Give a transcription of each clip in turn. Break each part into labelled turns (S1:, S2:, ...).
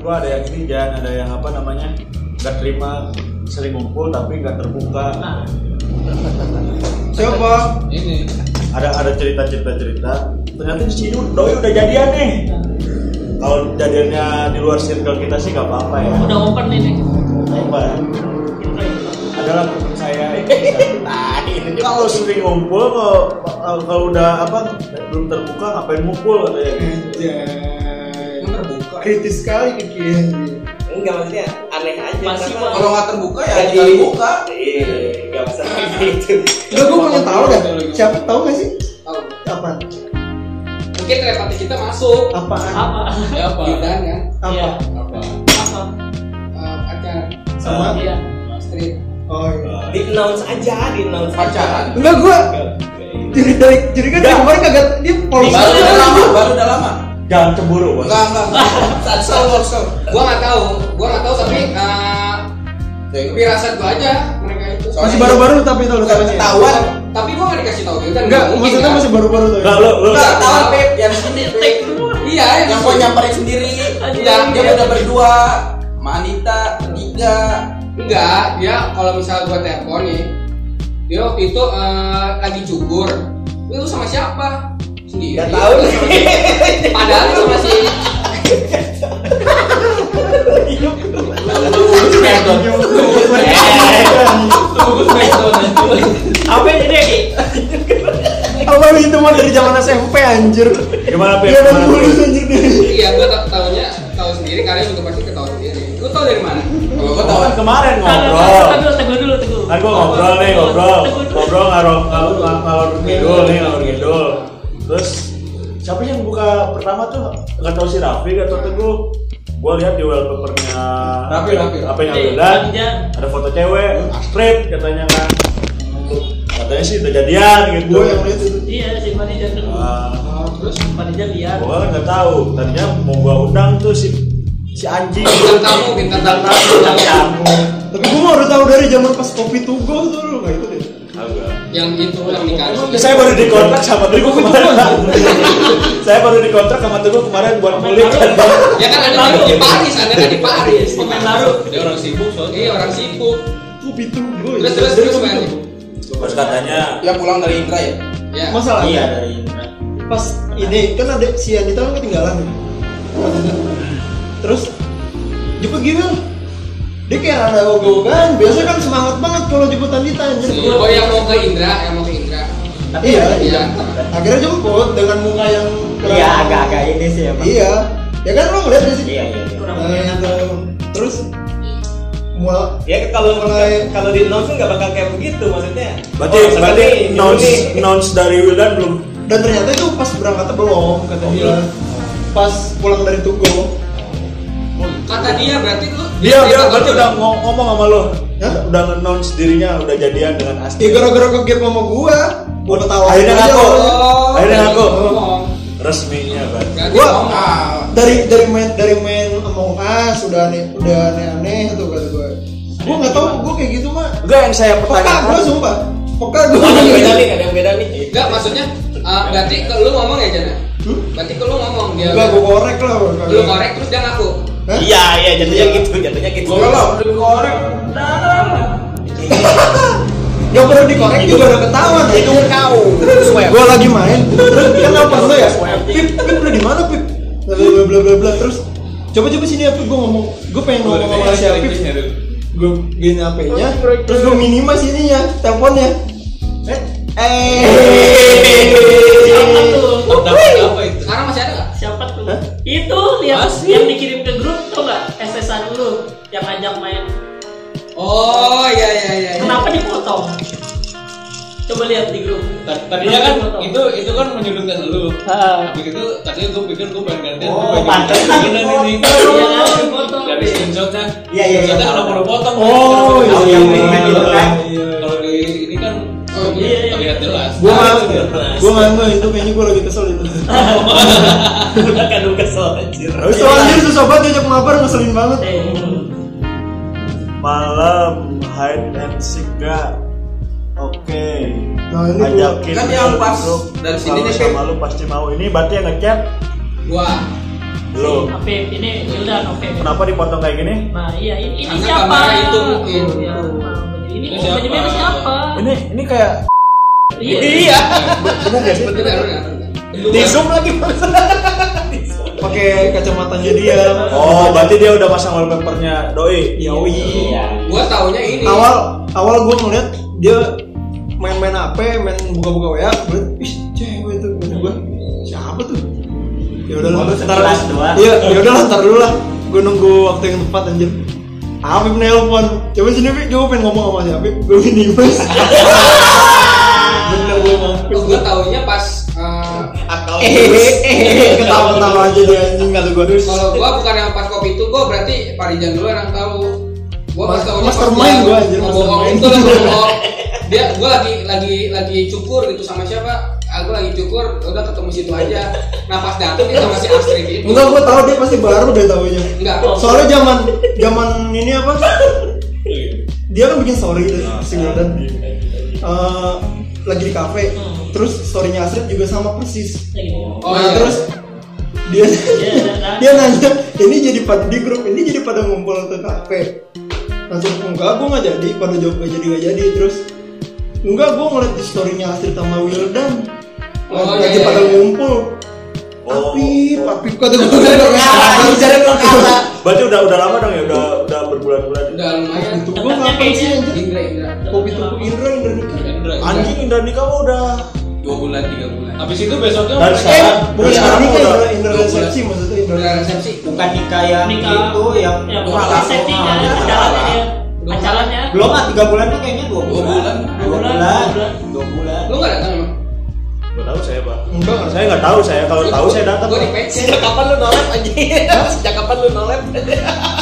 S1: gue ada yang ini Jan ada yang apa namanya nggak terima sering ngumpul tapi nggak terbuka
S2: Nah,
S3: Coba.
S4: ini
S1: ada ada cerita cerita cerita ternyata di sini doi udah jadian nih kalau jadiannya di luar circle kita sih nggak apa-apa ya
S2: udah open ini
S1: apa adalah teman saya kalau sering ngumpul kalau kalau udah apa belum terbuka ngapain ngumpul katanya
S3: Anjay.
S4: Emang terbuka
S3: Kritis sekali Kiki.
S5: Enggak maksudnya aneh aja.
S2: Masih,
S5: kenapa?
S2: Bang.
S4: kalau nggak terbuka ya
S5: Jadi-
S4: jangan buka
S5: Iya, enggak usah gitu.
S3: Udah gue pengen tahu dah. Siapa tahu gak sih? Apa?
S6: Mungkin telepati kita masuk.
S3: Apaan?
S2: apa
S4: ya apa
S6: Bidan kan?
S3: Apa?
S2: Iya.
S4: apa
S2: apa
S6: Eh, pacar
S3: Sama?
S2: iya
S6: street.
S3: Oh iya.
S5: Di announce aja, di announce
S4: pacaran
S3: Enggak gue jadi dari jadi kan dari kemarin kagak dia polos
S4: baru
S3: aja.
S4: udah lama baru udah lama
S1: jangan cemburu bos
S4: enggak enggak kesel gua kesel
S6: Gua nggak tahu, gua nggak tahu tapi eh, firasat gua aja mereka itu. Iya.
S3: Masih baru-baru tapi itu lu
S4: Nggak
S3: katanya.
S4: ketahuan
S6: Tapi gua nggak dikasih tahu gitu kan?
S3: Enggak,
S6: Mungkin
S3: maksudnya
S6: kan?
S3: masih baru-baru tuh.
S1: nggak lo lo
S4: Nggak ketahuan Pip yang
S2: titik dulu
S6: Iya,
S4: yang gua nyamperin sendiri
S2: Enggak,
S4: dia udah berdua sama Anita tiga
S6: Enggak, dia kalau misalnya gua telepon nih, dia waktu itu eh, lagi cukur. Lu sama siapa? Sendiri.
S5: Enggak tahu nih.
S6: Padahal lu sama si
S1: apa yang jadi
S3: Apa itu mah dari zaman SMP anjir.
S1: gimana Pip
S3: Iya,
S1: Gimana,
S3: dari dulu
S1: Pip?
S3: anjir deh.
S6: Iya, gua ta- tahunya tahu sendiri, kalian juga pasti ketahu sendiri. Lu tahu dari mana?
S4: kalau gua
S1: Gua
S4: tahu
S1: kan kemarin ngobrol
S2: teguh dulu teguh dulu teguh
S1: kan gua ngobrol nih ngobrol ngobrol ngarong ngalur ngalur ngidul nih ngalur ngidul terus siapa sih yang buka pertama tuh nggak tahu si Raffi nggak tahu teguh gua lihat di wallpapernya
S4: Raffi, Raffi.
S1: apa yang
S2: Iya,
S1: Wildan
S2: Wildan.
S1: ada foto cewek straight katanya kan katanya sih udah jadian gitu
S3: Gue yang lihat itu.
S2: iya si manajer teguh
S1: Ah,
S3: terus
S2: manajer lihat
S1: gua kan nggak tahu tadinya mau gua undang tuh si si anjing
S6: Bintang tamu, bintang tamu.
S1: bintang tamu
S3: tapi gue baru tahu dari zaman pas kopi tugo tuh lu kayak itu deh.
S1: agak
S6: yang itu yang nikah
S1: Ya, saya baru dikontrak sama Teguh kemarin saya baru dikontrak sama Teguh kemarin buat kulit
S6: ya kan ada
S2: Lalu.
S6: di Paris ada kan di Paris
S2: pemain baru
S4: dia orang sibuk soalnya
S6: iya orang sibuk
S3: Kopi tugo.
S6: terus terus terus main
S1: terus katanya
S4: dia pulang dari Indra ya
S6: ya
S3: Masalah kan?
S1: iya dari Indra
S3: pas ini kan ada si Anita kan ketinggalan. Terus jemput gini lah. Dia kayak rada ogah-ogahan. Biasanya kan semangat banget kalau jemput Anita anjir.
S6: oh yang mau ke Indra yang mau ke Indra
S3: Iya, iya.
S6: iya
S3: Akhirnya jemput dengan muka yang
S5: Iya, agak-agak ini sih emang.
S3: Iya. Ya kan lu ngeliat di sini.
S5: Iya, iya. iya.
S2: kurang
S3: Nah,
S2: enak
S3: gitu. Terus mulai
S5: Ya kalau
S3: Mulai-
S5: kalau di announce nggak bakal kayak begitu maksudnya.
S1: berarti
S5: Oh,
S1: berarti
S5: seperti ini,
S1: announce
S5: ini.
S1: announce dari Wildan belum
S3: dan ternyata itu pas berangkat belum kata
S1: Oh,
S3: dia
S1: belum.
S3: pas pulang dari Tugu
S6: kata dia berarti lu
S1: dia dia Iya, berarti udah ngom- ngomong sama lo
S3: Hah?
S1: udah announce dirinya udah jadian dengan
S3: ya
S1: Asti
S3: gara-gara ke game sama gua gua ketawa Iya.
S1: Akhirnya
S3: aja
S1: ngaku.
S3: awalnya.
S6: oh
S1: Akhirnya ngaku.
S6: ngomong
S1: resminya berarti
S6: Berarti
S3: Gua- ah,
S6: ngomong
S3: dari dari main dari main Among Us udah aneh udah aneh-aneh tuh kata gua gua nggak tahu gua kayak gitu mah
S1: enggak yang saya
S3: peka gua
S1: pertanyakan
S3: sumpah peka
S5: Ada
S3: gua Iya,
S5: yang beda nih, ada yang beda nih. Iya,
S6: enggak maksudnya eh, berarti ke lu ngomong ya Jana berarti ke lu ngomong dia
S3: Enggak, gua korek lah gua kagak.
S6: lu korek terus dia ngaku
S3: Hah?
S5: Iya, iya jatuhnya gitu, jatuhnya gitu.
S4: gua lah udah korek
S3: yang perlu dikorek juga udah ketawa
S5: Itu kau. ya? Swab.
S3: gue lagi main terus kan apa lu ya pip pip lu di mana pip bla bla bla bla bla terus coba coba sini apa gue ngomong gue pengen ngomong sama si Apip gue gini apanya terus gue minimas ininya teleponnya eh
S2: siapa
S3: eh
S2: tuh
S4: apa itu
S6: sekarang masih ada nggak
S2: siapa tuh
S3: Hah?
S2: itu yang yang dikirim ke grup tuh nggak SS-an lu yang ajak main
S6: oh iya iya iya iya.
S2: kenapa dipotong coba lihat di grup
S7: Tadinya kan itu itu kan menyudutkan lu. Habis itu tadinya gue pikir gue pengen gantian.
S5: Oh,
S7: gua pengen
S5: pantes
S7: gantian.
S5: lagi
S7: Gila nih.
S2: Iya, kan, dipotong.
S7: Dari ya, screenshotnya.
S5: Iya, iya, iya.
S7: Screenshotnya kalau perlu potong.
S3: Oh,
S7: kan.
S3: iya,
S7: Kalau
S3: iya,
S7: di-
S5: iya, kan?
S7: Kalau di ini kan
S6: Oh, iya,
S2: iya, iya.
S7: terlihat jelas.
S3: gue malu gue malu itu kayaknya gue lagi kesel itu
S5: Kan lu kesel anjir.
S3: terus tuh anjir susah banget diajak mabar ngeselin banget
S2: Eh,
S1: malam hide and seek gak oke
S3: Nah, ini gua-
S1: ajakin
S4: kan
S1: lu
S4: yang pas
S1: grup.
S4: dari sini
S1: Kalau
S4: nih,
S1: sama lu pasti mau ini berarti yang ngechat
S6: gua
S1: Belum.
S2: Afif ini Hildan Afif.
S1: Kenapa dipotong kayak gini?
S2: Nah iya ini, ini
S6: Karena
S2: siapa?
S6: kamera itu mungkin.
S2: Ya, nah, ini
S7: Ini
S2: siapa?
S7: siapa?
S2: siapa?
S1: Ini ini kayak
S2: Iya.
S1: bener gak sih?
S6: Bener nggak, bener nggak?
S5: Di zoom lagi
S3: pakai kacamatanya dia
S1: Oh, berarti dia udah pasang wallpapernya doi.
S8: Iya.
S3: yaoi
S5: Iya.
S6: Gua taunya ini.
S3: awal awal gue ngeliat dia main-main HP main buka-buka WA gue liat, ih cewek tuh kata gue siapa tuh ya udahlah
S5: Baru
S3: ntar
S5: sekilas doang.
S3: iya ya udahlah ntar dulu lah gue nunggu waktu yang tepat anjir Habib nelpon coba sini Habib coba pengen ngomong sama si Habib gue ini mas bener gue mampir
S6: Oh, gua taunya pas eh,
S3: eh. ketawa-ketawa aja dia anjing kata gue
S6: kalau gua bukan yang pas kopi itu gua berarti Parijan dulu yang tahu. Gua pas
S3: Mas-
S6: tahu
S3: mastermind gua, anjir,
S6: bohong
S3: mastermind.
S6: itu lah bohong. Dia gua lagi lagi lagi cukur gitu sama siapa? Aku lagi cukur, udah ketemu situ aja. Nah pas datang kita masih Astrid itu.
S3: enggak gue tau dia pasti baru deh taunya
S6: Enggak.
S3: soalnya zaman zaman ini apa dia kan bikin story itu si Wildan Eh, lagi di kafe terus storynya Astrid juga sama persis
S6: Oh,
S3: nah,
S6: iya.
S3: terus dia
S2: Iya,
S3: dia nanya ini jadi pada di grup ini jadi pada ngumpul ke kafe langsung enggak gue nggak jadi pada jawab nggak jadi nggak jadi terus enggak gue ngeliat di storynya Astrid sama Wildan lagi
S6: Oh, iya,
S3: lagi
S6: iya,
S3: pada
S6: iya.
S3: ngumpul
S1: Oh.
S3: tapi tapi kata gue bicara
S1: Berarti udah udah lama dong ya, udah udah berbulan-bulan.
S6: Udah lumayan.
S3: itu gue ngapain sih anjir
S6: Indra Indra.
S3: kopi tuku Indra Indra nikah
S7: Hendra.
S1: Anjing Indra nikah mah udah
S4: dua bulan tiga bulan
S7: Habis itu besoknya
S1: Dan
S3: eh
S1: sekarang
S3: bukan
S1: dari
S3: sekarang
S1: sekarang
S3: nikah
S1: udah
S3: Indra Indra resepsi maksudnya Indra
S6: Udah
S3: resepsi
S6: resepsi.
S5: bukan nikah yang
S2: Nikah.
S5: itu yang
S8: Iya,
S2: Ya,
S5: dua
S2: bukan
S5: tahun.
S2: settingnya,
S5: Ah,
S2: acaranya dia.
S6: Dua-
S2: Acaranya.
S5: belum lah tiga bulan nih kayaknya dua
S4: Dua
S5: bulan
S4: bulan.
S5: dua bulan dua bulan
S6: Lu enggak datang emang?
S1: Gak tahu saya, Pak.
S3: enggak
S1: Saya nggak tahu saya. Kalau tahu saya datang.
S6: Gua
S1: Pak.
S6: di PC.
S5: kapan lu nolep aja sejak kapan lu nolep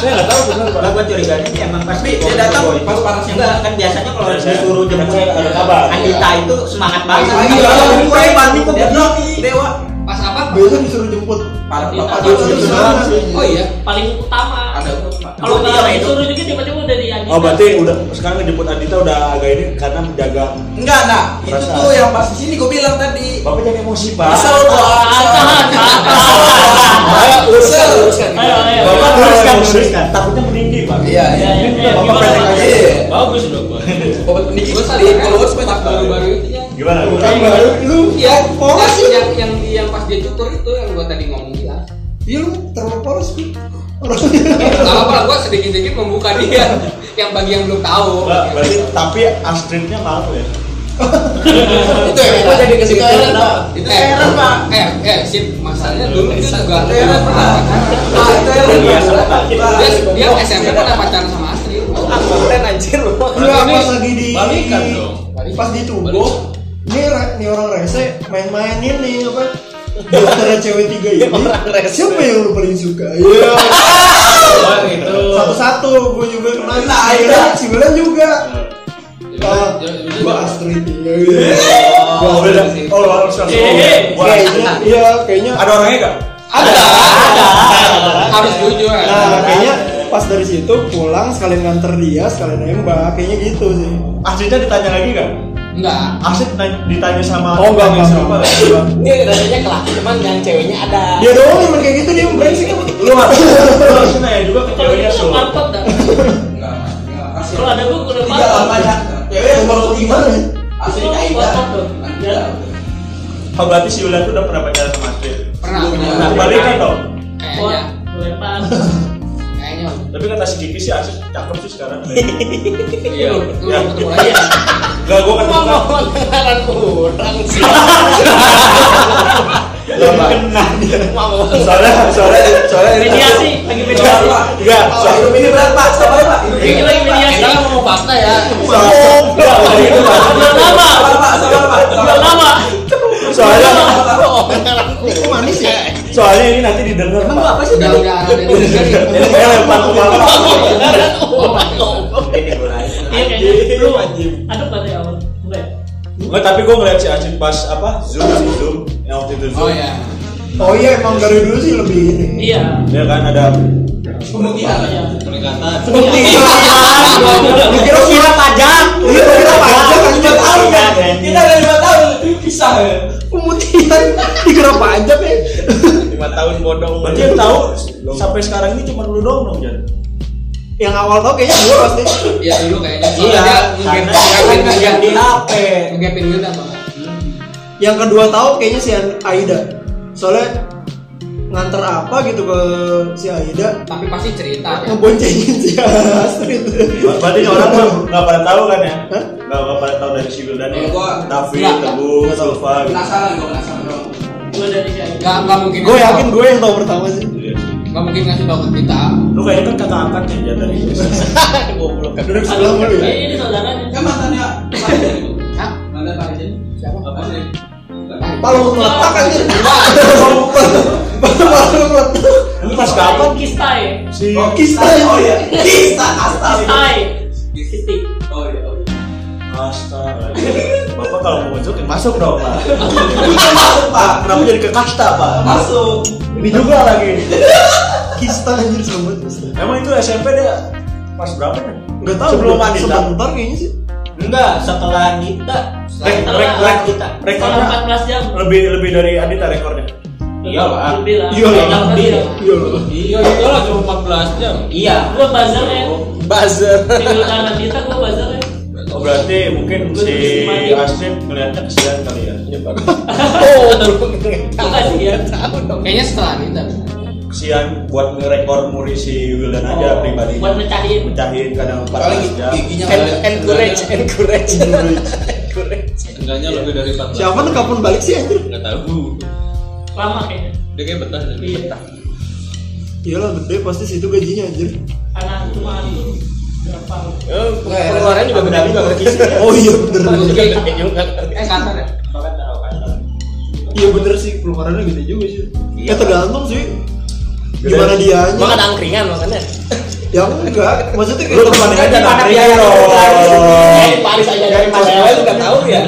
S1: Saya nggak tahu benar, Pak.
S5: Kalau gua curiganya sih emang pasti
S4: dia datang pas panas yang
S5: enggak kan biasanya kalau
S1: Biasanya.
S5: disuruh jemput
S1: Biasanya ada kabar.
S5: Anita itu semangat banget.
S6: Iya,
S5: Iya,
S6: iya,
S5: gue banding kok
S4: Dia
S5: goblok.
S4: dewa
S6: Pas apa?
S3: biasanya disuruh jemput
S4: para
S2: Iya.
S4: bapak
S3: Dia
S4: dulu
S3: disuruh
S6: Pas-
S3: jalan sih.
S6: Oh iya.
S2: Paling utama.
S4: ada bapak.
S2: Kalau nggak
S5: Gua tiga itu.
S2: disuruh juga tiba-tiba udah diajukan.
S1: Oh, berarti udah sekarang ngejemput Adita udah agak ini karena menjaga.
S4: enggak nah itu
S1: Perasaan.
S4: tuh yang pas di sini gua bilang tadi
S1: Bapak jangan emosi, Pak.
S4: kesel
S6: Ah,
S4: gua kesel.
S2: Tahan, tahan, tahan.
S1: Ayo,
S4: kesel luruskan
S2: Ayo,
S3: ya.
S2: ayo.
S1: Bapak
S2: Ayo.
S1: teruskan, teruskan. Takutnya meninggi, Pak.
S4: iya
S2: Ya,
S4: iya
S2: ya, ya,
S1: Bapak
S2: gimana,
S1: pendek
S2: Pak?
S1: aja.
S4: Iya.
S7: bagus dong gua.
S4: obat peninggi
S6: Gua
S4: gua
S6: tadi
S4: tadi kalau
S6: followers
S4: harus banyak
S6: baru-baru itu ya.
S1: Gimana?
S3: bukan baru lu
S6: Iya,
S3: polos
S6: yang,
S3: sih
S6: yang yang yang pas dia cukur itu yang gua tadi ngomong bilang.
S3: iya lu terlalu polos sih
S6: Gak apa-apa, gua sedikit-sedikit membuka dia yang bagi yang belum tahu.
S1: Enggak, berarti tapi Astridnya malu ya.
S4: itu yang gua jadi kesitu
S6: Itu
S4: itu
S6: eh,
S4: heran pak
S6: eh, eh, sip, masalahnya dulu itu juga.
S4: itu heran pak Nah, itu
S8: Iya,
S4: heran
S5: iya,
S4: pak
S6: Dia, dia SMP pernah pacaran sama Astri.
S5: Angkoten
S8: Iya,
S5: anjir lu.
S3: enggak
S7: ini
S3: pas lagi di
S7: balikan dong.
S3: pas di Tugo ini re- ini orang rese main-main ini apa di antara cewek tiga ini
S5: Orang rese.
S3: siapa yang lu paling suka iya
S7: Oh,
S8: Iya,
S7: gitu.
S3: satu-satu gue juga kenal
S5: Nah,
S3: si
S5: iya.
S3: Wilan- si Wilan juga
S7: Jadi- jadi- jadi-
S3: gue Astrid iya Gua
S1: Oh,
S3: Astrid.
S1: beda. Oh, harus harus.
S2: Eh,
S1: Wah,
S3: kayaknya iya kayaknya
S1: ada orangnya enggak?
S6: Ada, harus jujur.
S3: Nah, kayaknya pas dari situ pulang sekalian nganter dia, sekalian nembak, kayaknya gitu sih.
S1: Astridnya ditanya lagi enggak?
S6: Enggak.
S1: Astrid na- ditanya sama
S3: Oh, enggak,
S1: ditanya
S3: enggak,
S1: sama-
S3: enggak.
S5: Ini rasanya kelas cuman yang ceweknya ada.
S3: Dia
S6: Iya.
S3: doang yang kayak gitu dia brengsek apa gitu.
S1: Lu harus lu harus nanya juga ke
S2: Kalau
S1: ceweknya
S2: gitu
S1: so.
S2: apartment dah.
S4: enggak enggak kasih
S2: Kalau ada gua udah
S4: tiga
S2: apartment.
S4: lama ya cewek yang baru tiga
S3: Gimana?
S4: asli
S2: Itu
S4: kayak
S2: WhatsApp tuh. Ya.
S1: Oh, berarti si Yulan tuh udah pernah pacaran sama Astrid.
S6: Pernah,
S4: Sebelumnya.
S6: pernah.
S1: Nah,
S3: iya.
S1: balikan dong.
S6: Kayaknya,
S2: Lempar.
S6: kayaknya.
S1: Tapi kata si Kiki sih Astrid cakep sih sekarang.
S7: Iya.
S6: Lu, lu ketemu lagi ya?
S1: Enggak, gua kan
S5: Cuma
S1: ketemu.
S5: mau pendengaran orang sih.
S1: Enggak, Iya, Pak.
S3: Iya,
S5: Mau.
S6: Iya.
S1: Soalnya soalnya soalnya
S2: Mediasi, lagi mediasi.
S1: Enggak, soalnya
S4: hidup ini berat pak sabar pak hidup
S2: Lagi lagi mediasi.
S6: Kita ngomong fakta ya.
S1: soalnya itu, Pak.
S2: Belum lama.
S4: sabar pak sabar pak sabar
S2: Belum lama.
S1: soalnya
S3: Itu manis ya.
S6: Iya.
S1: soalnya ini nanti didengar.
S5: Emang lu
S1: Pak.
S5: apa sih?
S6: Udah, udah, udah, udah, udah.
S1: Jadi saya lempar ke Bapak.
S5: Ini mulai.
S2: Iya kayaknya. Lu aduk nggak tuh ya awal? Enggak. ya?
S1: Enggak, tapi gua ngeliat si Astrid pas apa? Zoom si Zoom yang waktu itu Zoom.
S6: Oh ya.
S3: Oh iya emang dari dulu sih lebih ini.
S2: Iya.
S1: Ya kan ada
S4: pemutihan
S2: Iya.
S7: Peningkatan.
S3: Bukti. Dikira kira pajak. Iya, kira pajak kan
S4: lima
S1: iya,
S4: tahun kan kita ada lima tahun pisah ya
S3: Pemutihan dikira pajak ya.
S4: lima
S7: tahun bodong
S1: Berarti yang Iya, tahu sampai sekarang ini cuma lu doang dong, Jan.
S3: yang awal tau kayaknya gue pasti
S6: Iya dulu kayaknya.
S1: Iya,
S6: Soalnya
S1: karena-
S6: dia ngegapin
S3: yang di
S6: ngegapin
S3: HP
S6: ngegapin gue banget.
S3: yang kedua tahu kayaknya si Aida soalnya nganter apa gitu ke si Aida
S6: Tapi pasti cerita. kan?
S3: ngeboncengin si Astrid
S1: Berarti orang mah nggak pada tahu kan ya?
S3: Hah?
S1: Nggak nggak pada tahu dari Sibil dan
S6: Eh, gua-
S1: Nafi,
S6: nggak.
S1: Teguh, Sulfa gitu.
S6: Penasaran gue penasaran dong.
S2: Gue dari gitu. si Aida.
S6: Gak gak mungkin.
S3: gue yakin gue yang tahu pertama sih
S1: Iya sih.
S6: Gak mungkin ngasih tahu ke kita.
S1: Lu kayaknya kan kakak angkatnya Jan dari
S5: Goblok.
S3: duduk sebelah mulu
S2: Iya,
S3: ya
S2: ini saudaranya.
S4: Kan mantannya Pak Jen.
S6: Hah?
S4: Mantan Pak Jen.
S6: Siapa?
S4: Apa sih?
S3: palu meletak aja palu meletak
S1: Lu pas kapan?
S2: Kistai.
S1: Si
S4: Oh,
S3: Kista. ya,
S4: Oh iya. Kista astaga.
S2: Kistai. Kistik.
S4: Oh iya. oh, iya.
S1: Astaga. Bapak kalau mau masuk, ya masuk dong Pak.
S4: Bukan masuk Pak.
S1: Kenapa jadi ke kasta Pak?
S4: Masuk.
S1: Ini juga lagi.
S3: kista anjir sama Kista
S1: Emang itu SMP dia pas berapa ya?
S3: nggak tahu
S1: Sebelum
S3: belum
S1: Adita.
S3: sebentar kayaknya sih
S5: Enggak, setelah Dita.
S1: Rek- rek- rek-
S2: Kalau
S1: Rekornya
S2: 14 jam.
S1: lebih lebih dari Adita rekornya.
S5: Iya lah.
S2: Lebih lah.
S3: Iya lah.
S2: 14 jam.
S3: iya loh
S7: iya itu lah cuma 14 jam
S5: Iya.
S2: Gue buzzer ya.
S5: Buzzer.
S2: Tinggal tangan kita gue buzzer ya.
S1: Oh, berarti mungkin si Astrid ngeliatnya kesian kali ya.
S5: Oh,
S2: Bukan sih ya.
S6: Kayaknya setelah kita.
S1: Kesian buat ngerekor muri si Wildan aja pribadi.
S2: Oh. Buat mecahin.
S1: Mencahin kadang 14
S4: Soalnya
S1: jam.
S4: giginya
S5: En-
S3: Eh,
S7: Iya.
S5: encourage, encourage.
S7: enggaknya lebih dari 14
S3: siapa nih kapan balik sih anjir
S7: nggak tahu
S2: Lama kayaknya.
S7: dia kayak betah dia
S2: Iya.
S7: betah
S3: iyalah gede pasti situ gajinya anjir
S2: Karena cuma itu. Berapa?
S8: Oh,
S5: Pengeluaran juga beda juga berarti.
S3: oh iya bener
S5: Gede juga.
S6: Eh kasar ya?
S3: iya bener sih pengeluarannya gede juga sih
S5: Iya.
S3: ya tergantung sih gimana
S1: Gede.
S3: dia
S5: Gua kan angkringan makanya.
S3: ya enggak maksudnya
S1: Lu
S3: kayak
S1: kemana aja Iya,
S5: Mana
S1: nanti?
S5: biaya lo?
S6: iya.
S5: Eh, Paris aja dari
S3: Paris.
S5: Paris aja udah tahu ya.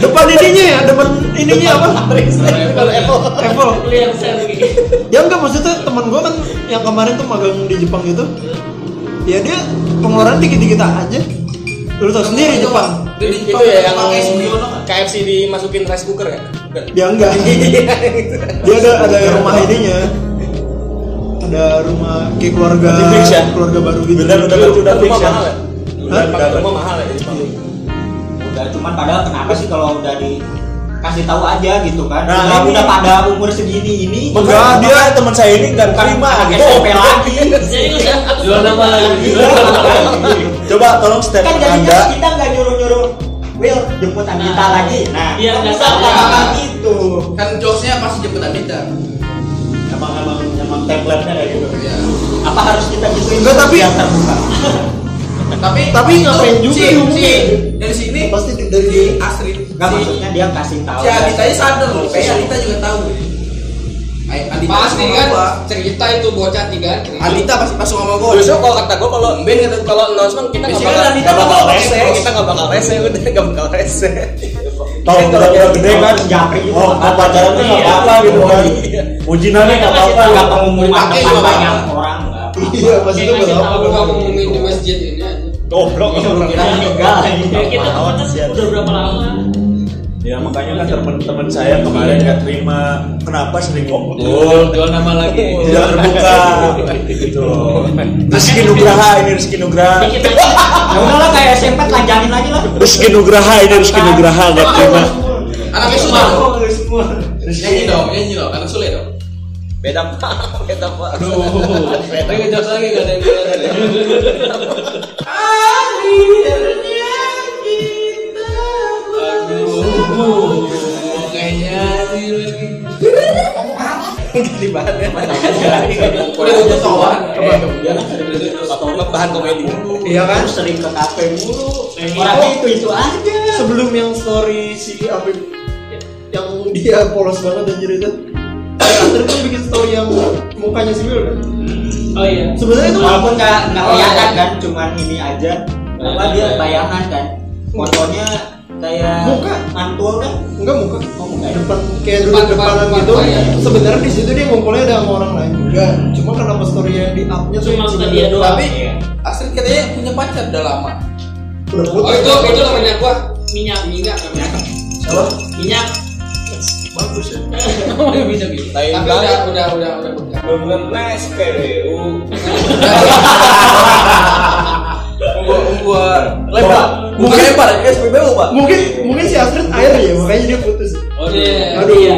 S3: depan ininya ya depan ininya apa
S5: Kalau Apple.
S3: Apple
S2: Lu yang share kayak
S3: ya enggak maksudnya teman gue kan yang kemarin tuh magang di Jepang gitu ya dia pengeluaran dikit-dikit aja lu tau sendiri Jepang
S5: Itu ya yang
S4: pakai Sugiono kan?
S5: KFC dimasukin rice cooker ya? gitu. Bukan.
S3: dia enggak
S5: Iya.
S3: dia ada ada rumah ininya ada rumah kayak keluarga
S1: Berarti fix ya?
S3: keluarga baru gitu
S1: Bener, udah udah fix
S5: Rumah
S1: ya.
S5: mahal ya?
S1: Udah, udah,
S5: Pakai rumah
S1: udah.
S5: mahal ya di Jepang.
S8: udah cuman padahal kenapa sih kalau udah dikasih tahu aja gitu kan
S1: Nah,
S8: udah,
S1: ini-
S8: udah pada umur segini ini
S1: Enggak, dia teman saya ini dan terima
S8: pakai
S1: gitu.
S8: SMP lagi
S2: Jadi lu yang aku
S7: jual nama lagi
S1: Iya. Coba tolong step
S8: kan jadinya
S1: Anda
S8: kita nggak nyuruh nyuruh Will jemput Anita
S2: Nah.
S8: lagi nah
S2: Iya,
S8: kan
S2: nggak
S8: bisa gitu.
S2: salah.
S8: katakan itu
S6: Kan jokesnya pasti jemputan kita.
S8: emang emang emang template-nya kayak gitu apa harus kita gituin
S3: Enggak, tapi-
S8: yang terbuka
S6: Tapi
S3: Tapi ngapain juga
S6: si,
S3: diumumin?
S6: si dari sini
S3: pasti di- dari
S6: dari Astrid.
S8: nggak
S6: si-
S8: maksudnya dia kasih tahu
S4: Si Adita aja sadar loh, kayak Adita juga tahu. Ay- Adita
S6: Pasti
S4: sama
S6: kan
S4: gua.
S6: cerita itu bocah tiga.
S4: Adita pasti pas ngomong gue.
S5: Justru Oh, kalau kata gue kalau
S4: Ben kata gua.
S5: kalau announcement kita nggak
S4: Biasanya
S5: bakal
S4: Anita
S5: nggak bakal
S4: ngomong
S5: rese,
S4: terus.
S5: kita nggak bakal rese udah nggak bakal rese.
S1: tolong udah udah gede kan
S8: Japri gitu,
S1: mau mau
S8: apa-apa.
S1: pacaran tuh nggak
S8: Iya.
S1: apa-apa gitu kan.
S5: Iya.
S1: Ujinannya nggak apa-apa.
S8: nggak pengumuman
S4: Dipakai
S8: depan
S4: juga
S8: banyak
S4: apa-apa.
S8: orang nggak apa-apa.
S3: iya pasti itu
S2: Kayak ngasih
S3: berapa
S2: tahu.
S6: Kalau ngomongin di masjid ini aja.
S1: Goblok. Iya,
S8: kira meninggal
S2: Ya kita putus
S1: Siap.
S2: udah berapa lama?
S1: Ya makanya kan teman-teman saya kemarin nggak terima kenapa sering ngomong.
S7: jual jual nama lagi
S5: Iya,
S1: Tidak terbuka. Gitu loh. Rizky Nugraha ini Rizky Nugraha.
S2: Dikit aja.
S8: ya udahlah ya kayak SMP lanjanin lagi lah
S1: Rizky Nugraha ini Rizky Nugraha nggak terima.
S6: Anaknya sulit. dong.
S8: semua
S6: Nyanyi dong, nyanyi dong. Anak sulit dong.
S5: Beda pak, beda pak.
S7: tapi ngejokes lagi gak ada yang bilang ada ya.
S6: Aduh, kayaknya sih lagi.
S5: Ganti bahan ya.
S6: Udah untuk kawan.
S5: Iya. Apa bahan komedi?
S3: iya kan
S8: sering ke kafe mulu orang
S3: Oh.
S8: itu itu aja
S3: sebelum yang story si Apip yang dia polos banget dan cerita Astrid tuh kan bikin story yang mukanya si Will kan
S2: Oh iya.
S3: sebenarnya itu
S8: walaupun nggak nggak
S6: Iya,
S8: kelihatan kan cuman ini aja apa dia bayangan kan fotonya kayak
S3: Muka.
S8: mantul kan
S3: enggak muka
S8: Oh, muka ya.
S3: depan kayak dulu
S6: Depan,
S3: depanan
S6: depan,
S3: gitu
S6: depan, iya.
S3: sebenarnya di situ dia ngumpulnya ada sama orang lain juga cuma kenapa storynya di upnya tuh
S2: Cuma
S3: yang
S2: suka
S3: sebenarnya-
S2: dia doang.
S6: Tapi Astrid katanya punya pacar udah lama.
S3: udah
S6: Oh
S3: putus
S6: itu itu namanya ah. gua
S2: Minyak.
S6: minyak namanya.
S2: Minyak.
S1: bagus ya
S7: Emang bisa gitu.
S5: Oh, iya. Lain
S6: Tapi
S5: banget.
S6: udah udah udah udah udah.
S5: Mengenai SPBU. Gua gua lebar. Bukan lebar, SPBU, Pak.
S3: mungkin mungkin si Astrid air ya makanya dia putus
S7: Oh, iya.
S2: Iya.
S3: aduh
S2: Iya.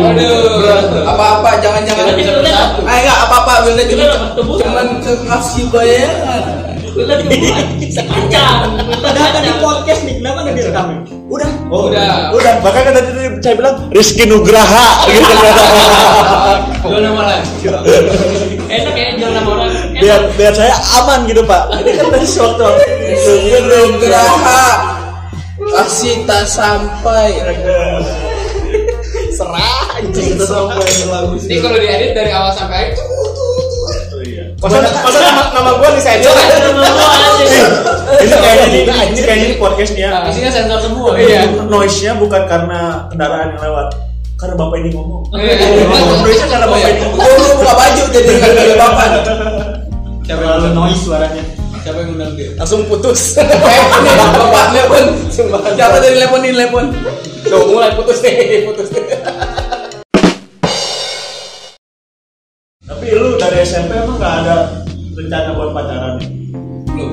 S5: Berat. Apa-apa jangan-jangan
S2: Berarti lu lihat,
S5: Ah enggak apa-apa Wilda
S2: Wilda dapat tebusan.
S5: cuman kasih bayangan.
S2: lu lihat keburuan. panjang, lu lihat
S8: Padahal tadi
S2: panjang.
S8: podcast nih, kenapa nggak direkam? Udah,
S1: oh
S6: Udah.
S1: udah bahkan kan tadi saya bilang Rizky Nugraha gitu
S5: Oh.
S7: Jual nama lain.
S2: Enak ya jual sama orang.
S1: biar biar saya aman gitu pak ini kan tadi sewaktu waktu
S5: Geraha kasih tak sampai serah anjing
S3: kita sampai lagu
S6: Jadi kalau diedit dari awal sampai akhir tuh
S3: masa masa nama nama gue nih saya
S1: ini kayaknya di ini kayaknya di podcast nih ya
S7: Isinya sensor semua.
S6: Iya.
S1: noise nya bukan karena kendaraan yang lewat karena bapak ini ngomong
S5: Iya.
S6: Iya.
S5: Indonesia karena bapak itu gua dulu Oh, buka baju jadi nggak ada bapak
S8: siapa yang noise suaranya?
S7: Siapa yang ngundang dia?
S5: langsung putus Eh, ini bapak telepon Sumpah. siapa tadi telepon ini telepon tuh mulai putus nih putus
S1: tapi lu dari SMP emang gak ada rencana buat pacaran ya?
S5: belum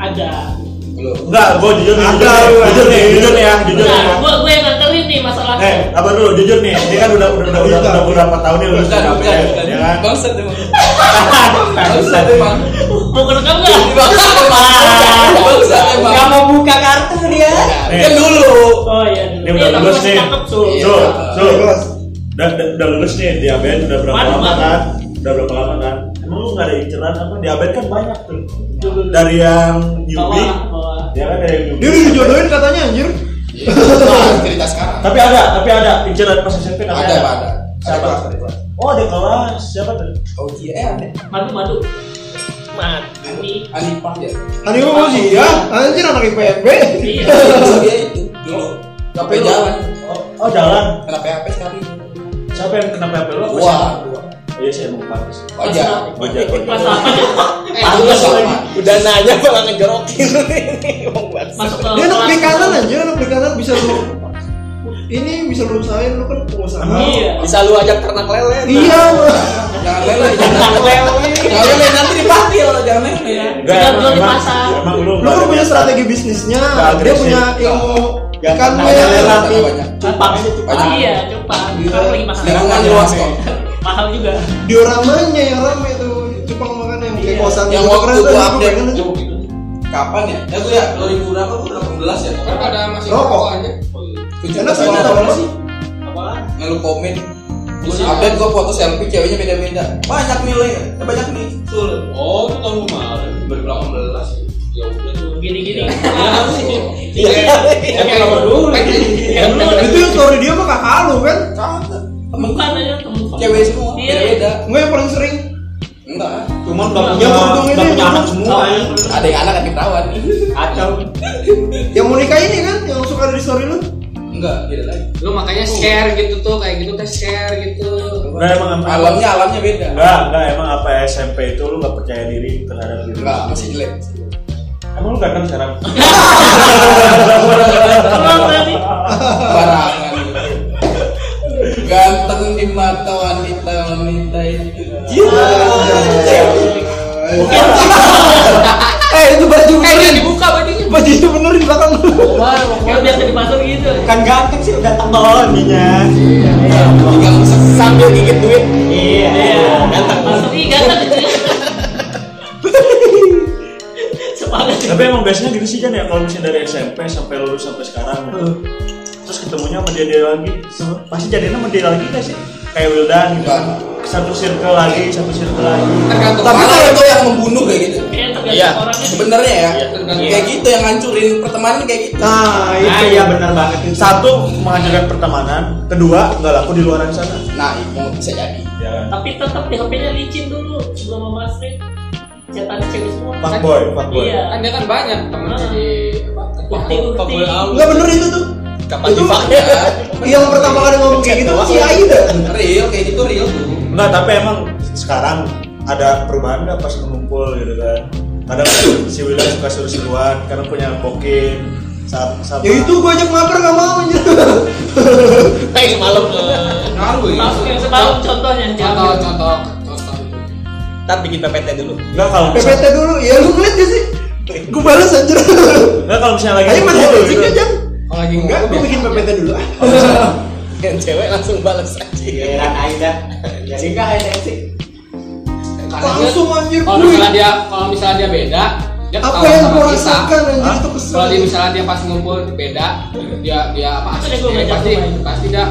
S2: Ada.
S5: belum
S1: enggak gue jujur nih jujur, nih, jujur nih jujur nih ya jujur nih
S2: Bentar,
S1: ya.
S2: gua gua yang nganterin nih
S1: eh
S2: masalahnya.
S1: apa dulu jujur nih ini kan udah udah udah udah, udah berapa tahun ya lu
S5: bukan
S1: sudah
S5: bukan
S3: Iya,
S1: PDKT, ya kan
S5: bangsat emang bangsat emang
S2: Mau kerekam enggak?
S5: bangsat emang bangsat emang
S8: Gak mau buka kartu dia.
S5: kan dulu
S2: Oh iya.
S1: ini udah
S2: Iya,
S1: lulus
S2: masih
S1: nih
S2: cakep, Sul.
S1: Sul, Sul, udah udah udah lulus nih di ABN udah berapa
S2: Waduh,
S1: lama
S2: waduh.
S1: kan udah berapa lama kan emang lu gak ada inceran apa di ABN kan banyak tuh dari yang newbie
S2: Bawah, bawah.
S1: ya kan dari yang
S3: dia
S1: newbie
S3: udah dijodohin katanya anjir
S5: Nah, cerita sekarang
S1: tapi ada tapi ada inceran pas SMP katanya
S5: ada pak ada Ada
S1: siapa
S5: kelas, ada kelas.
S1: oh ada kelas siapa tuh
S5: oh iya eh, ada
S2: Madu, madu. Madu nih.
S5: Anipah ya
S3: hari ini mau dia "Iya, anjir anak IPMB
S2: Iya.
S5: dia itu dulu sampai jalan
S1: oh, oh jalan
S5: kenapa ya, HP sekali
S1: siapa yang kena PHP lu apa
S5: gua
S1: siapa?
S5: gua
S1: iya saya mau pantas
S5: aja
S1: ojek
S5: iya.
S2: Kelas
S1: ojek
S2: apa ya? nih?
S6: eh
S5: Pantes
S6: dulu
S5: lagi. udah nanya malah ngejorokin Emang banget.
S2: Masuk ke
S3: dia anak
S2: kelas-
S3: perikanan anjir anak perikanan bisa lu ini bisa lu usahain lu kan pengusaha
S2: Iya.
S5: bisa lu ajak ternak lele
S3: iya
S5: jangan lele jangan lele jangan lele nanti dipanggil jangan lele
S2: Iya.
S1: Enggak,
S2: Udah
S1: emang-
S2: jual di
S1: emang-
S2: pasar.
S1: emang lu
S3: lu kan punya strategi bisnisnya
S1: Nggak
S3: dia
S1: agresif.
S3: punya ilmu
S1: Nggak
S3: ikan
S1: kenal
S3: men.
S1: lelah.
S5: tapi banyak
S1: cupang itu
S5: Banyak.
S2: Iya, coba. Sekarang lagi mahal.
S5: jangan luas kok
S2: Mahal juga.
S3: dioramanya yang ramai tuh cupang makan yang kayak
S2: Iya.
S3: kosan
S5: Yang
S3: gitu
S5: waktu
S3: keren
S5: gua
S3: tuh, gua
S5: update.
S3: pengen tuh.
S5: kapan ya ya gua ya 2000 berapa gua 18 ya
S6: kan pada masih
S3: Rokok.
S6: rokok aja.
S3: enak sih kita
S5: Apa?
S3: sih
S2: Apaan?
S5: yang lu komen terus update gue foto selfie ceweknya beda-beda banyak nih lo ya banyak nih sul
S7: Oh, itu tahun kemarin 2018. Ya udah tuh.
S2: Gini-gini.
S5: iya
S7: Ya kayak nomor dulu.
S2: Ya
S8: Iya,
S2: lu ada
S3: itu yang story dia mah kakak lu kan
S2: temukan aja temukan.
S5: cewek semua
S2: Iya.
S5: beda-beda
S3: gue yang paling sering
S5: enggak ah.
S8: Cuman udah
S3: Yang
S8: punya,
S3: beruntung
S8: udah
S3: ini,
S8: punya anak
S3: beruntung.
S8: semua.
S5: ada yang anak ada yang perawan
S8: Kacau.
S3: yang mau nikah ini kan yang suka ada di story lu
S5: enggak beda lagi
S6: Lu makanya share gitu tuh kayak gitu teh share gitu.
S1: Enggak emang emang
S5: alamnya alamnya beda
S1: Enggak, enggak emang apa SMP itu lu gak percaya diri terhadap diri. lu
S5: enggak
S1: sendiri?
S5: masih jelek
S1: Emang lu ganteng sekarang?
S2: Tolong berarti.
S5: barangan ganteng di mata wanita wanita itu
S8: Iya.
S3: Ah. eh itu baju
S6: Eh
S8: iya,
S6: udah dibuka bajunya.
S3: baju itu bener di belakang lu
S5: Iya,
S2: Kayak biasa di pasar gitu.
S8: Bukan ganteng sih, udah tebal
S1: Oh,
S8: ininya.
S5: Pegang sambil gigit duit
S8: Iya. Ganteng.
S2: Masuk ikan gitu ya. Semangat.
S1: Tapi emang biasanya gitu sih kan ya kalau misalnya dari SMP sampai lulus sampai sekarang gitu.
S8: Hmm.
S1: Terus ketemunya sama dia dia lagi, pasti jadinya sama dia lagi gak sih? Kayak Wildan gitu.
S5: Enggak.
S1: Satu circle lagi, satu circle lagi.
S6: Tergantung
S5: tapi
S6: orang.
S5: kalau itu yang membunuh kayak gitu
S2: Kayak
S5: Iya,
S2: tergantung orangnya.
S5: sebenarnya ya.
S6: Iya.
S5: Kayak gitu yang ngancurin pertemanan kayak gitu.
S3: nah
S8: Ah,
S3: itu
S8: iya benar banget itu.
S1: Satu menghancurkan pertemanan, kedua nggak laku di luaran sana.
S5: Nah, itu bisa jadi.
S1: Ya kan?
S3: Iya.
S2: Tapi tetap di HP-nya licin dulu sebelum memasukin catatan cewek semua.
S1: Fuck boy, fuck boy.
S2: Iya.
S6: Kan dia kan banyak temen jadi
S2: Ukti ukti.
S7: Fuckboy out.
S3: nggak bener itu tuh
S5: Kapan
S3: itu yang pertama kali ngomong kayak gitu si
S8: Iya,
S3: Aida
S5: Real kayak gitu real tuh.
S1: Enggak, tapi emang sekarang ada perubahan nggak pas ngumpul gitu kan? Kadang si Wildan suka seru-seruan karena punya bokin. saat saat
S3: ya itu gua ajak mabar nggak mau anjir
S7: Teh semalam eh,
S6: ngaruh ya
S2: Maksud yang semalam contohnya yang
S6: contoh
S2: diambil.
S6: contoh contoh
S5: Ntar bikin PPT dulu.
S1: nggak kalau misalnya
S3: PPT dulu ya lu ngeliat gak sih gua balas anjir
S8: Eh,
S1: nggak kalau misalnya lagi
S3: ayo
S8: iya,
S3: masih
S1: ngumpul
S3: anjing
S1: gitu.
S3: jam
S6: kalau lagi
S3: enggak gua bikin PPT dulu ah
S5: Yang cewek langsung balas aja.
S8: Giliran Aida. Ya, Jadi enggak high tensi.
S3: langsung anjir
S6: kalau
S3: kuy.
S6: misalnya dia kalau misalnya dia beda dia
S3: apa
S6: ketahuan
S3: yang gitu,
S6: sama
S3: kau
S6: kita.
S3: rasakan anjir
S1: Hah?
S3: itu
S6: kalau dia
S3: kesel
S6: misalnya dia pas ngumpul beda dia dia apa
S2: Itu
S6: asis
S2: dia gua
S6: dia
S2: ngajak
S6: pasti
S2: main.
S6: pasti dia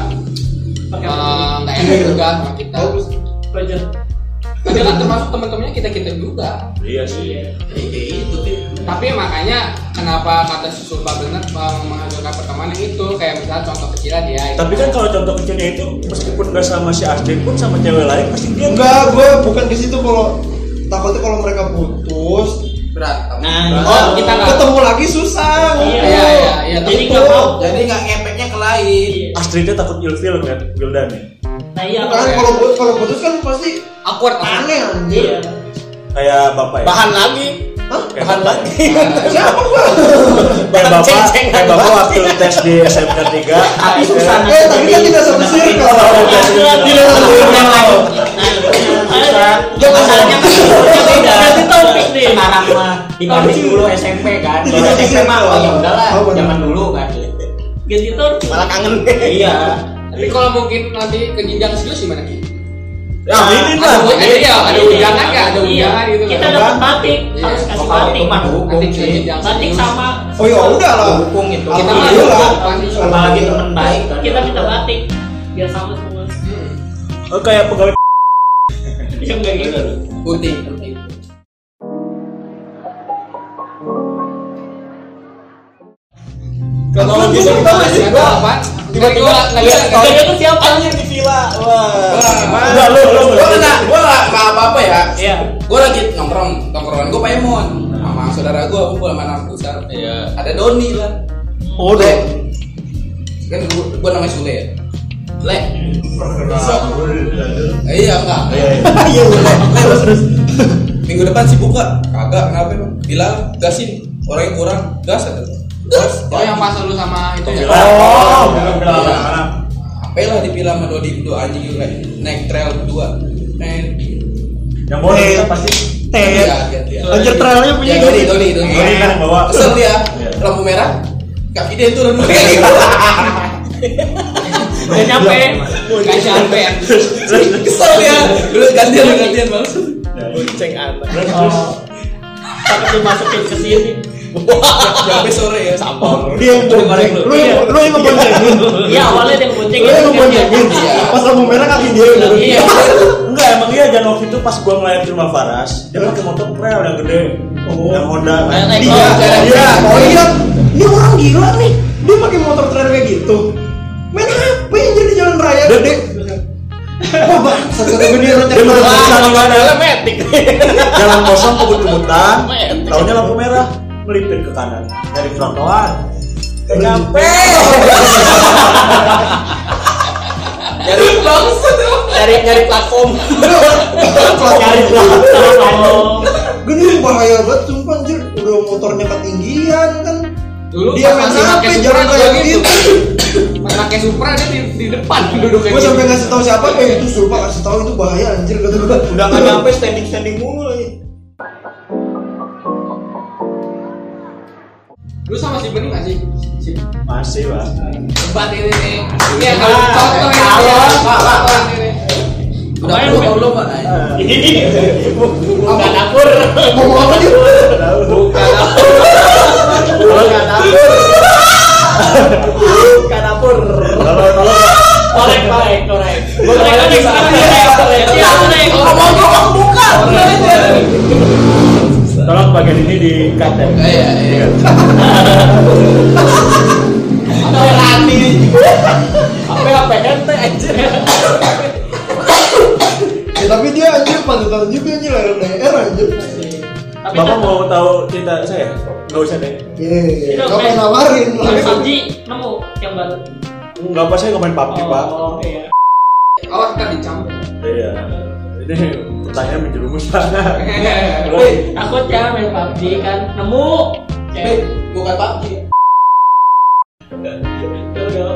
S2: Pakai
S6: eh, nggak enak juga sama kita
S2: Roger.
S6: Tapi kan termasuk teman-temannya kita kita juga
S1: iya sih
S5: gitu.
S6: tapi makanya kenapa kata susul bubble net eh, menghasilkan pertemanan itu kayak misalnya contoh kecil dia itu.
S1: tapi kan kalau contoh kecilnya itu meskipun nggak sama si Asden pun sama cewek lain pasti dia
S3: enggak gua bukan ke situ kalau takutnya kalau mereka putus
S5: Berat.
S8: Nah,
S6: Oh,
S3: oh,
S6: kita nggak-
S3: ketemu lagi
S2: Iya,
S3: susah
S6: iya iya iya
S2: Jadi
S6: tapi
S2: nggak mau.
S5: Jadi nggak ngepeknya ke lain.
S2: Iya.
S1: Astridnya takut ilfil kan Wildan ya
S2: Nah iya.
S3: Bukan,
S2: Pak.
S3: kalau putus kalau putus kan pasti
S6: awkward awkward.
S3: aneh anjir
S2: Iya.
S1: kayak bapak ya
S5: Bahan lagi.
S3: Hah?
S1: Kayak
S5: Bahan
S1: bapak.
S5: lagi.
S3: siapa gua
S1: kayak
S5: Bahan
S1: bapak
S5: ceng-cengan
S1: kayak bapak
S5: banget.
S1: waktu tes di SMK 3
S8: tapi susah
S3: eh tapi kan tidak satu circle
S2: Gila,
S3: Jangan
S8: masalahnya kan beda.
S2: Ganti topik nih.
S8: Sekarang mah dibanding dulu SMP kan. Kalau
S3: Dikasih
S8: SMP mah
S3: sinyal.
S8: oh ya udahlah
S3: Oh, bener.
S8: zaman dulu kan.
S2: Ganti topik.
S5: Malah kangen.
S8: Iya.
S6: tapi kalau mungkin nanti ke jenjang serius gimana Ki?
S1: ya ini lah
S6: ada iya, ada undangan nggak
S2: Iya.
S6: ada undangan gitu
S2: Kita
S6: kan
S2: dapat batik,
S6: Iya.
S2: harus kasih
S8: Kalau itu
S2: batik.
S8: mah hukum
S6: nanti ke
S8: sih.
S6: jenjang
S2: Batik
S6: serius.
S2: sama.
S3: oh ya udah lah
S8: Hukum itu.
S6: kita mah
S3: Alhamdulillah.
S6: pasti
S8: apalagi teman baik kan.
S2: Kita minta batik. Biar sama semua.
S1: oh, kayak pegawai
S2: Ya enggak gitu.
S6: putih putih
S3: Kalau gitu tau gak sih gua
S6: apa
S5: Tiba-tiba
S6: Gua nggak
S2: Iya,
S6: bisa
S5: lihat
S2: Kalian tuh siapa?
S5: Anjir di villa. Wah.
S1: enggak lu lu Iya,
S5: Gua kena, gua nggak nggak apa-apa ya.
S2: Iya.
S6: Oh,
S5: Gua lagi nongkrong, nongkrongan gua Paemon sama saudara gua kumpul sama anak pusar.
S7: Iya.
S5: Ada Doni lah.
S3: oh
S5: Sule. Kan gua, gua namanya Sule ya. Le. Eh, iya enggak.
S3: iya udah terus terus
S5: Minggu depan sibuk gak? Kagak, kenapa emang? Bilang gasin, orangnya kurang, gas aja. Gas.
S6: oh yang pas lu sama itu
S3: Iya.
S6: ya
S1: oh
S5: Sampai lah dibilang sama Dodi itu anjing gila. Naik trail berdua. Naik.
S1: yang mau kita pasti Eh, iya.
S5: Iya.
S3: tet anjir trailnya punya
S5: Ya, Dodi,
S3: gini
S5: Dodi, Dodi.
S1: Dodi kan yang bawa.
S5: Kesel dia.
S1: Iya.
S5: Lampu merah. Kaki dia turun.
S2: Udah nyampe.
S6: nggak sampai
S3: Iya,
S6: yang
S5: Kesel dia. Dulu gantian, gantian bang. Bonceng anak.
S1: terus
S2: Takut dimasukin ke sini.
S5: Sampai sore ya. Sampah.
S3: dia yang bonceng lu yang lu yang ngeboncengin
S2: Iya awalnya dia yang bonceng.
S3: lu yang ngeboncengin
S5: Iya.
S3: pas lampu merah kaki dia udah
S2: Iya.
S1: enggak emang iya dan waktu itu pas gua ngeliat rumah Faras dia pakai motor trail yang gede
S5: Oh.
S1: yang Honda kan
S2: Naik
S3: dia
S2: motor.
S3: dia oh iya ini orang gila nih dia pakai motor trail kayak gitu main apa yang jadi jalan raya gede Wah bangsa kata gue dia
S1: dia
S3: rencana
S1: baru bisa
S5: Dalam metik.
S1: jalan kosong kebut-kebutan tahunnya lampu merah melipir ke kanan dari trotoar Nggak nyampe
S5: Nyari langsung Nyari nyari platform.
S1: nyari
S2: Tolong.
S3: Gini bahaya banget sumpah anjir Udah motornya ketinggian kan
S6: dulu
S3: Dia main
S6: pas masih
S3: apa
S6: pakai supra
S3: jalan
S6: juga
S3: kayak
S6: gitu
S3: gitu
S6: pas pakai supra dia di, di depan duduk kayak
S3: Gue
S6: gitu
S3: sampai ngasih tau siapa Eh itu sumpah kasih tau itu bahaya anjir kata gue
S8: Udah nggak nyampe standing standing mulu lagi.
S6: lu sama si bening nggak sih si Iya,
S1: masih lah
S6: debat
S2: Iya,
S6: ini nih ini yang kalau contoh ini contoh ini
S5: Udah perlu apa belum Pak?
S2: Bukan dapur.
S3: Ngomong apa dia?
S8: Bukan dapur.
S1: kalau kalau
S2: Korek korek korek. Korek korek korek. Iya korek.
S5: Ngomong-ngomong buka.
S1: tolong bagian ini di cut ya
S5: Iya iya. Ada lati. Apa apa
S2: Iya,
S5: ente anjir.
S3: Ya tapi dia anjir pantutan juga anjir LDR anjir
S2: Tapi
S1: bapak
S2: tetap-
S1: mau tahu cerita saya nggak usah deh
S3: Yeay
S2: Itu
S3: Gak
S2: main-
S3: pengen nawarin
S2: Mas Samji Iya, nemu yang baru.
S1: nggak apa saya nggak main PUBG pak
S2: Oh, iya.
S6: awas kita dicampur
S1: iya ini pertanyaan menjerumus banget
S2: ya, Takutnya main PUBG kan nemu.
S5: Bukan PUBG.
S2: udah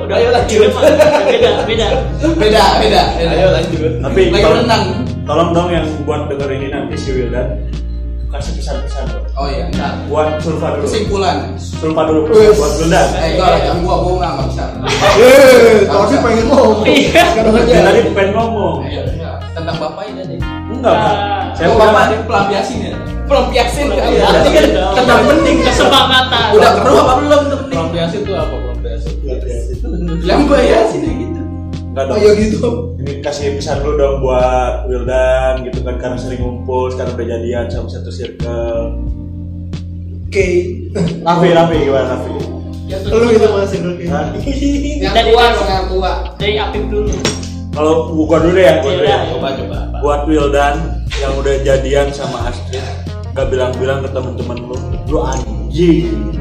S2: udah
S5: Ayo lanjut.
S2: beda beda
S5: Beda, beda. Ayo lanjut.
S1: Tapi
S5: Lagi
S1: tolong,
S5: renang.
S1: tolong dong yang buat denger ini nanti si Wildan kasih pesan-pesan bro.
S5: Oh iya, entar.
S1: buat Sulfa dulu.
S5: Kesimpulan.
S1: Sulfa dulu bro.
S3: Wes.
S1: buat Wildan.
S5: Eh, enggak lah, jangan gua gua enggak enggak bisa.
S3: Eh, tapi pengen ngomong.
S2: Iya.
S3: Sekarang
S1: Dia
S3: aja.
S1: tadi pengen ngomong.
S5: Iya, iya. Tentang bapak ini deh.
S1: Enggak. Pak. Saya
S6: Oh,
S5: Saya
S1: udah
S5: bapak ini pelampiasin ya. Pelampiasin. Berarti kan tentang penting
S2: kesepakatan
S5: Udah keruh apa belum tuh penting?
S7: Pelampiasin tuh apa pelampiasin?
S5: Pelampiasin ya
S1: iya,
S5: gitu.
S1: enggak
S3: Oh
S1: dong.
S3: ya gitu.
S1: Ini kasih pesan dulu dong buat Wildan gitu kan karena sering ngumpul, sekarang udah jadian sama satu circle.
S3: Oke.
S1: Raffi, Raffi gimana Raffi?
S3: Lu itu masih dulu.
S1: Hah?
S6: yang tua dong yang tua
S2: dari Apip dulu
S1: Kalau gua dulu deh ya, gua
S2: Iya.
S1: dulu ya.
S7: Coba coba.
S1: Buat Wildan yang udah jadian sama Astrid, gak bilang-bilang ke temen-temen lu, lu anjing.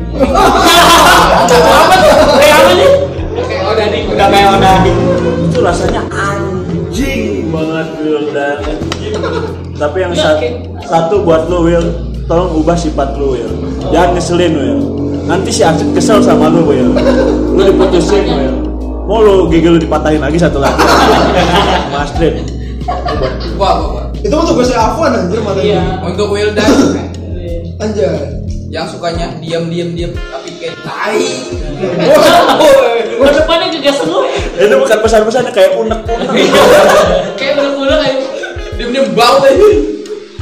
S2: kayak apa sih
S6: oke oh dari
S8: Udah kayak udah
S1: itu rasanya anjing banget Will dan tapi yang sa- satu buat lu Will tolong ubah sifat lu Will jangan ngeselin Will nanti si Acit kesel sama lu Will lu diputusin Will mau lu gigi lu dipatahin lagi satu lagi Mas Astrid
S5: Gua gua.
S3: Itu mah tugasnya Afwan anjir mata
S2: iya
S5: Untuk Wildan
S3: Anjay.
S5: yang sukanya diam diam diam tapi kayak tai.
S2: Gua depannya kegasan lu
S1: itu bukan pesan-pesan kayak unek unek
S2: kayak udah kayak
S5: Diam diam bau deh.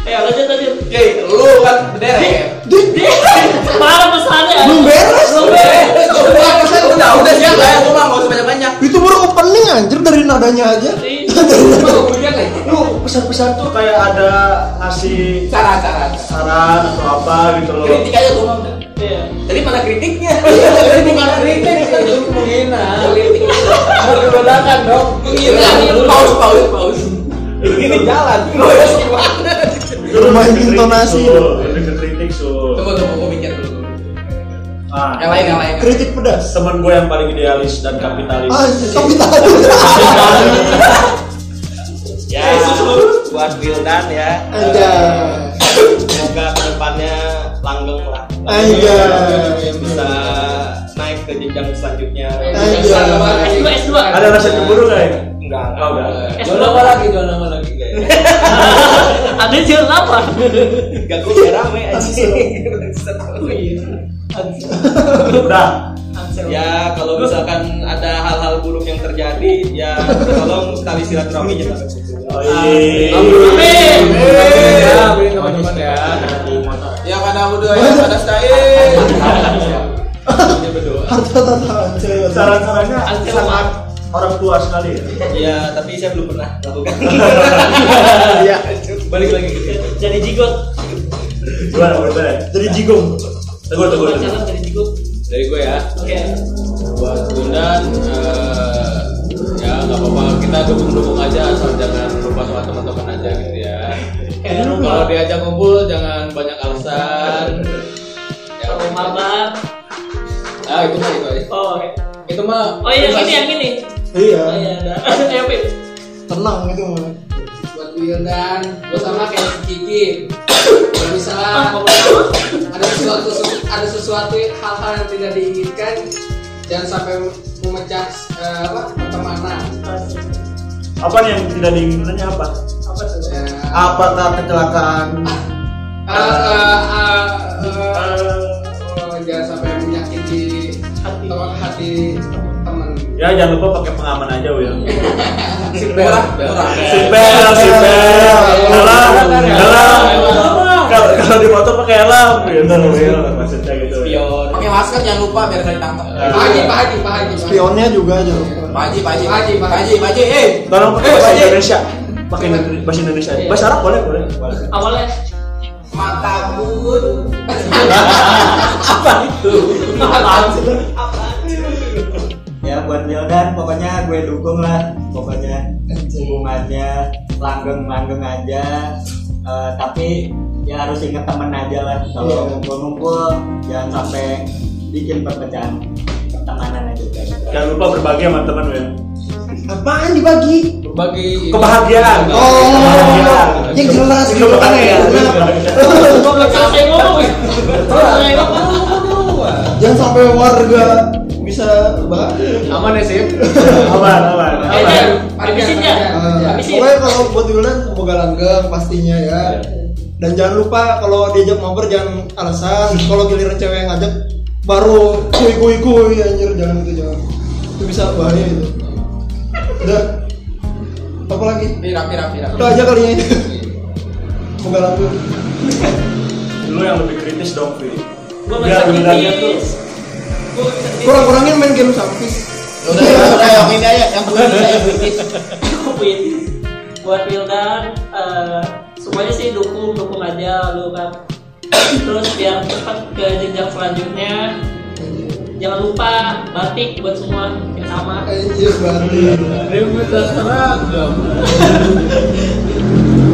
S2: eh lanjut tadi
S5: Oke, lu kan berderet.
S2: parah pesannya
S3: Belum beres.
S2: Belum beres.
S8: Eh,
S5: Coba pesan udah udah siap lah ya, gua mah nggak usah banyak banyak.
S3: Itu baru opening anjir dari nadanya aja.
S2: Iya.
S1: lu pesan-pesan tuh kayak ada ngasih
S5: Cara cara. cara.
S1: saran atau apa gitu loh
S5: Kritik aja gua mah udah.
S2: Iya.
S5: Tadi mana kritiknya? Tadi bukan kritik, itu menghina. Harus dibedakan dong. Menghina. Paus paus paus. Ini jalan. Lu harus gimana?
S3: Lumayan
S1: Kritik,
S3: intonasi.
S1: Sul. Itu kritik Sul.
S5: Tunggu tunggu gua mikir dulu.
S1: Ah.
S5: Yang lain yang lain.
S3: Kritik pedas.
S1: teman gue yang paling idealis dan kapitalis
S3: Anjir, tapi tadi.
S4: Ya, buat Wildan ya.
S3: Anjay.
S4: Semoga kedepannya langgeng lah.
S3: Anjay.
S4: Bisa naik ke jenjang selanjutnya.
S2: S2
S3: Anjay.
S2: S2
S1: ada rasa cemburu gak ya?
S4: Enggak,
S1: enggak udah
S7: Jual nama lagi, jual nama lagi guys.
S2: ada jual apa
S4: enggak gue biar rame aja.
S1: udah
S4: ya kalau misalkan ada hal-hal buruk yang terjadi ya tolong sekali silaturahmi jangan sampai
S2: amin
S7: Ya, beli teman-teman ya.
S5: Ya karena aku doa ya pada saya.
S3: Harta tata anjay.
S1: saran-sarannya sangat orang tua sekali ya
S4: ya tapi saya belum pernah lakukan
S3: Iya.
S4: balik lagi ke sini.
S2: jadi jigot
S1: gimana bener ya?
S3: Jadi jigong.
S1: teguh teguh teguh
S2: Bukan jalan, jadi jigot
S7: Dari gue ya.
S2: oke
S7: buat Bundan eh, ya nggak apa-apa kita dukung-dukung aja asal jangan lupa sama teman-teman aja gitu ya kalau diajak kumpul jangan banyak alasan ya,
S2: kalau mama
S7: ah itu mah itu aja
S2: oh oke.
S7: itu mah
S2: oh iya
S5: ya,
S2: yang ini yang ini oh
S3: Iya.
S2: iya ada ayo Pip
S3: Tenang itu mah.
S6: buat Wildan gue sama kayak si Kiki kalau misalnya
S2: Ah,
S6: ada sesuatu ada sesuatu hal-hal yang tidak diinginkan jangan sampai memecah eh, apa pertemanan
S1: apa nih yang tidak diinginkannya apa?
S6: apa tuh Eh,
S3: Apakah kecelakaan?
S6: eh, eh, eh, eh, eh, jangan sampai menyakiti
S2: Hati.
S6: teman hati teman
S1: ya jangan lupa pakai pengaman aja Will
S5: Murah, murah.
S1: sipel sipel alam alam kalau kalau di motor pakai alam bener Will maksudnya gitu Will.
S5: Pakai masker jangan lupa biar nggak ditangkap.
S6: Pak Haji Pak Haji Pak Haji Pak Haji.
S3: Spionnya juga jangan lupa.
S5: Pak Haji, Pak Haji,
S6: Pak Haji, Pak
S5: Pak
S6: Haji.
S5: Haji, Pak Haji, eh.
S1: tolong pakai
S5: Eh,
S1: bahasa
S5: Pak Haji.
S1: Indonesia pakai bahasa Indonesia bahasa Arab boleh boleh
S2: awalnya
S5: Matamu.
S8: Ya buat Wildan pokoknya gue dukung lah pokoknya hubungannya langgeng-langgeng aja Eh, tapi ya harus inget temen aja lah kalau
S3: Iya.
S8: ngumpul-ngumpul jangan sampai bikin perpecahan pertemanan aja guys.
S1: jangan lupa berbagi sama teman ya. Will
S3: Apaan dibagi?
S7: berbagi
S1: kebahagiaan
S3: Oh, yang jelas
S1: Itu
S3: gitu kan
S1: bukan
S3: ya.
S1: iya. ya.
S2: gua belum selesai ngomong Belum selesai ngomong
S3: Jangan sampai warga bisa bahagia.
S5: Aman ya sip.
S1: aman aman
S2: Eh,
S1: aman
S2: Jan, habisin ya.
S3: Eh,
S2: Habisin.
S3: pokoknya kalau buat bulan semoga langgeng pastinya ya. Dan jangan lupa kalau diajak mabar jangan alasan. Kalau giliran cewek yang ngajak baru kuy kuy kuy anjir jangan gitu jangan. Itu bisa bahaya itu. Udah. Apa lagi?
S5: Pirap, pirap, pirap.
S3: Itu aja kali ya. Semoga langgeng.
S1: lu yang lebih kritis dong Vi
S2: Gua
S1: Biar
S2: nggak bisa
S1: bilangnya tuh
S2: kritis. Gua nggak bisa kritis.
S3: Kurang-kurangin main game sampis.
S5: Udah, ya, udah, yang ini aja, yang penting kita yang kritis.
S2: Win. buat Wildan eh, semuanya sih dukung dukung aja lu kan terus biar cepat ke jenjang selanjutnya jangan lupa batik buat semua yang sama
S3: Anjir banget.
S7: Ribut terserah.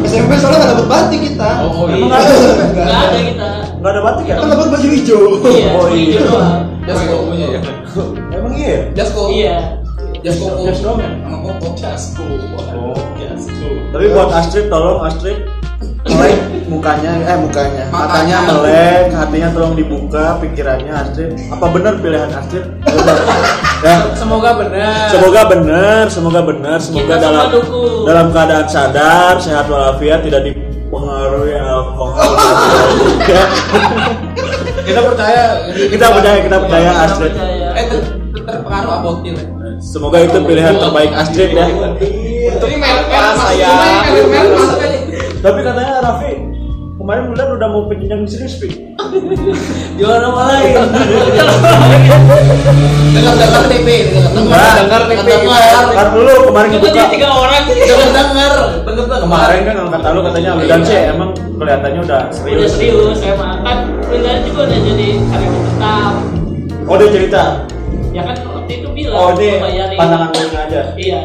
S3: SMP soalnya nggak dapat batik kita.
S7: Oh, oh, iya.
S2: Emang nggak ada?
S3: Nggak
S2: nggak ada kita
S1: nggak ada batik ya
S3: Kan dapat baju hijau.
S2: iya
S1: Oh,
S2: cuma hijau
S1: iya.
S2: doang.
S7: Jasko punya ya.
S1: emang iya ya?
S5: Jasko.
S2: iya
S5: Jasko.
S1: Just doang ya?
S5: Sama Koko. Jasko.
S1: Oh, tapi buat Astrid tolong Astrid melek mukanya eh mukanya matanya
S5: Matanya.
S1: melek hatinya tolong dibuka pikirannya Astrid apa benar pilihan Astrid Coba. ya
S5: Semoga benar.
S1: semoga benar semoga benar semoga
S2: Kita semua
S1: dalam
S2: dukung.
S1: dalam keadaan sadar sehat walafiat tidak dipengaruhi alkohol Ya,
S7: Kita percaya
S1: kita percaya kita percaya Astrid
S2: percaya.
S5: Eh, ter- terpengaruh abotil.
S1: semoga itu pilihan terbaik Astrid ya
S5: Tapi
S7: apa saya?
S1: tapi katanya Raffi kemarin bulan udah mau penjenjang serius Pi.
S2: juara apa lagi
S1: ya?
S5: Dengar-dengar DP, dengar-dengar.
S1: Nah,
S7: dengar nih,
S5: Dengar-dengar.
S1: Ntar dulu kemarin
S2: coba
S1: buka
S2: dia tiga orang
S5: Dengar-dengar. Dengar-dengar.
S1: kemarin kan kata lu katanya Wildan sih emang kelihatannya udah
S2: udah
S1: serius.
S2: serius emang kan Wildan juga udah jadi karyawan tetap
S1: Oh dia cerita.
S2: ya kan waktu itu bilang
S1: Oh
S2: gua
S1: dia
S2: bayarin.
S1: pandangan lu aja.
S2: iya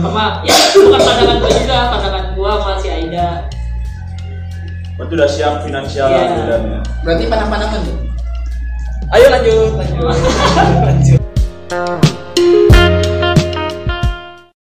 S2: sama ya bukan pandangan gua juga pandangan gua sama si Aida
S1: Berarti udah siap finansial
S2: Iya.
S1: Wildan ya.
S5: Berarti panah-panahan. Ayo lanjut, lanjut.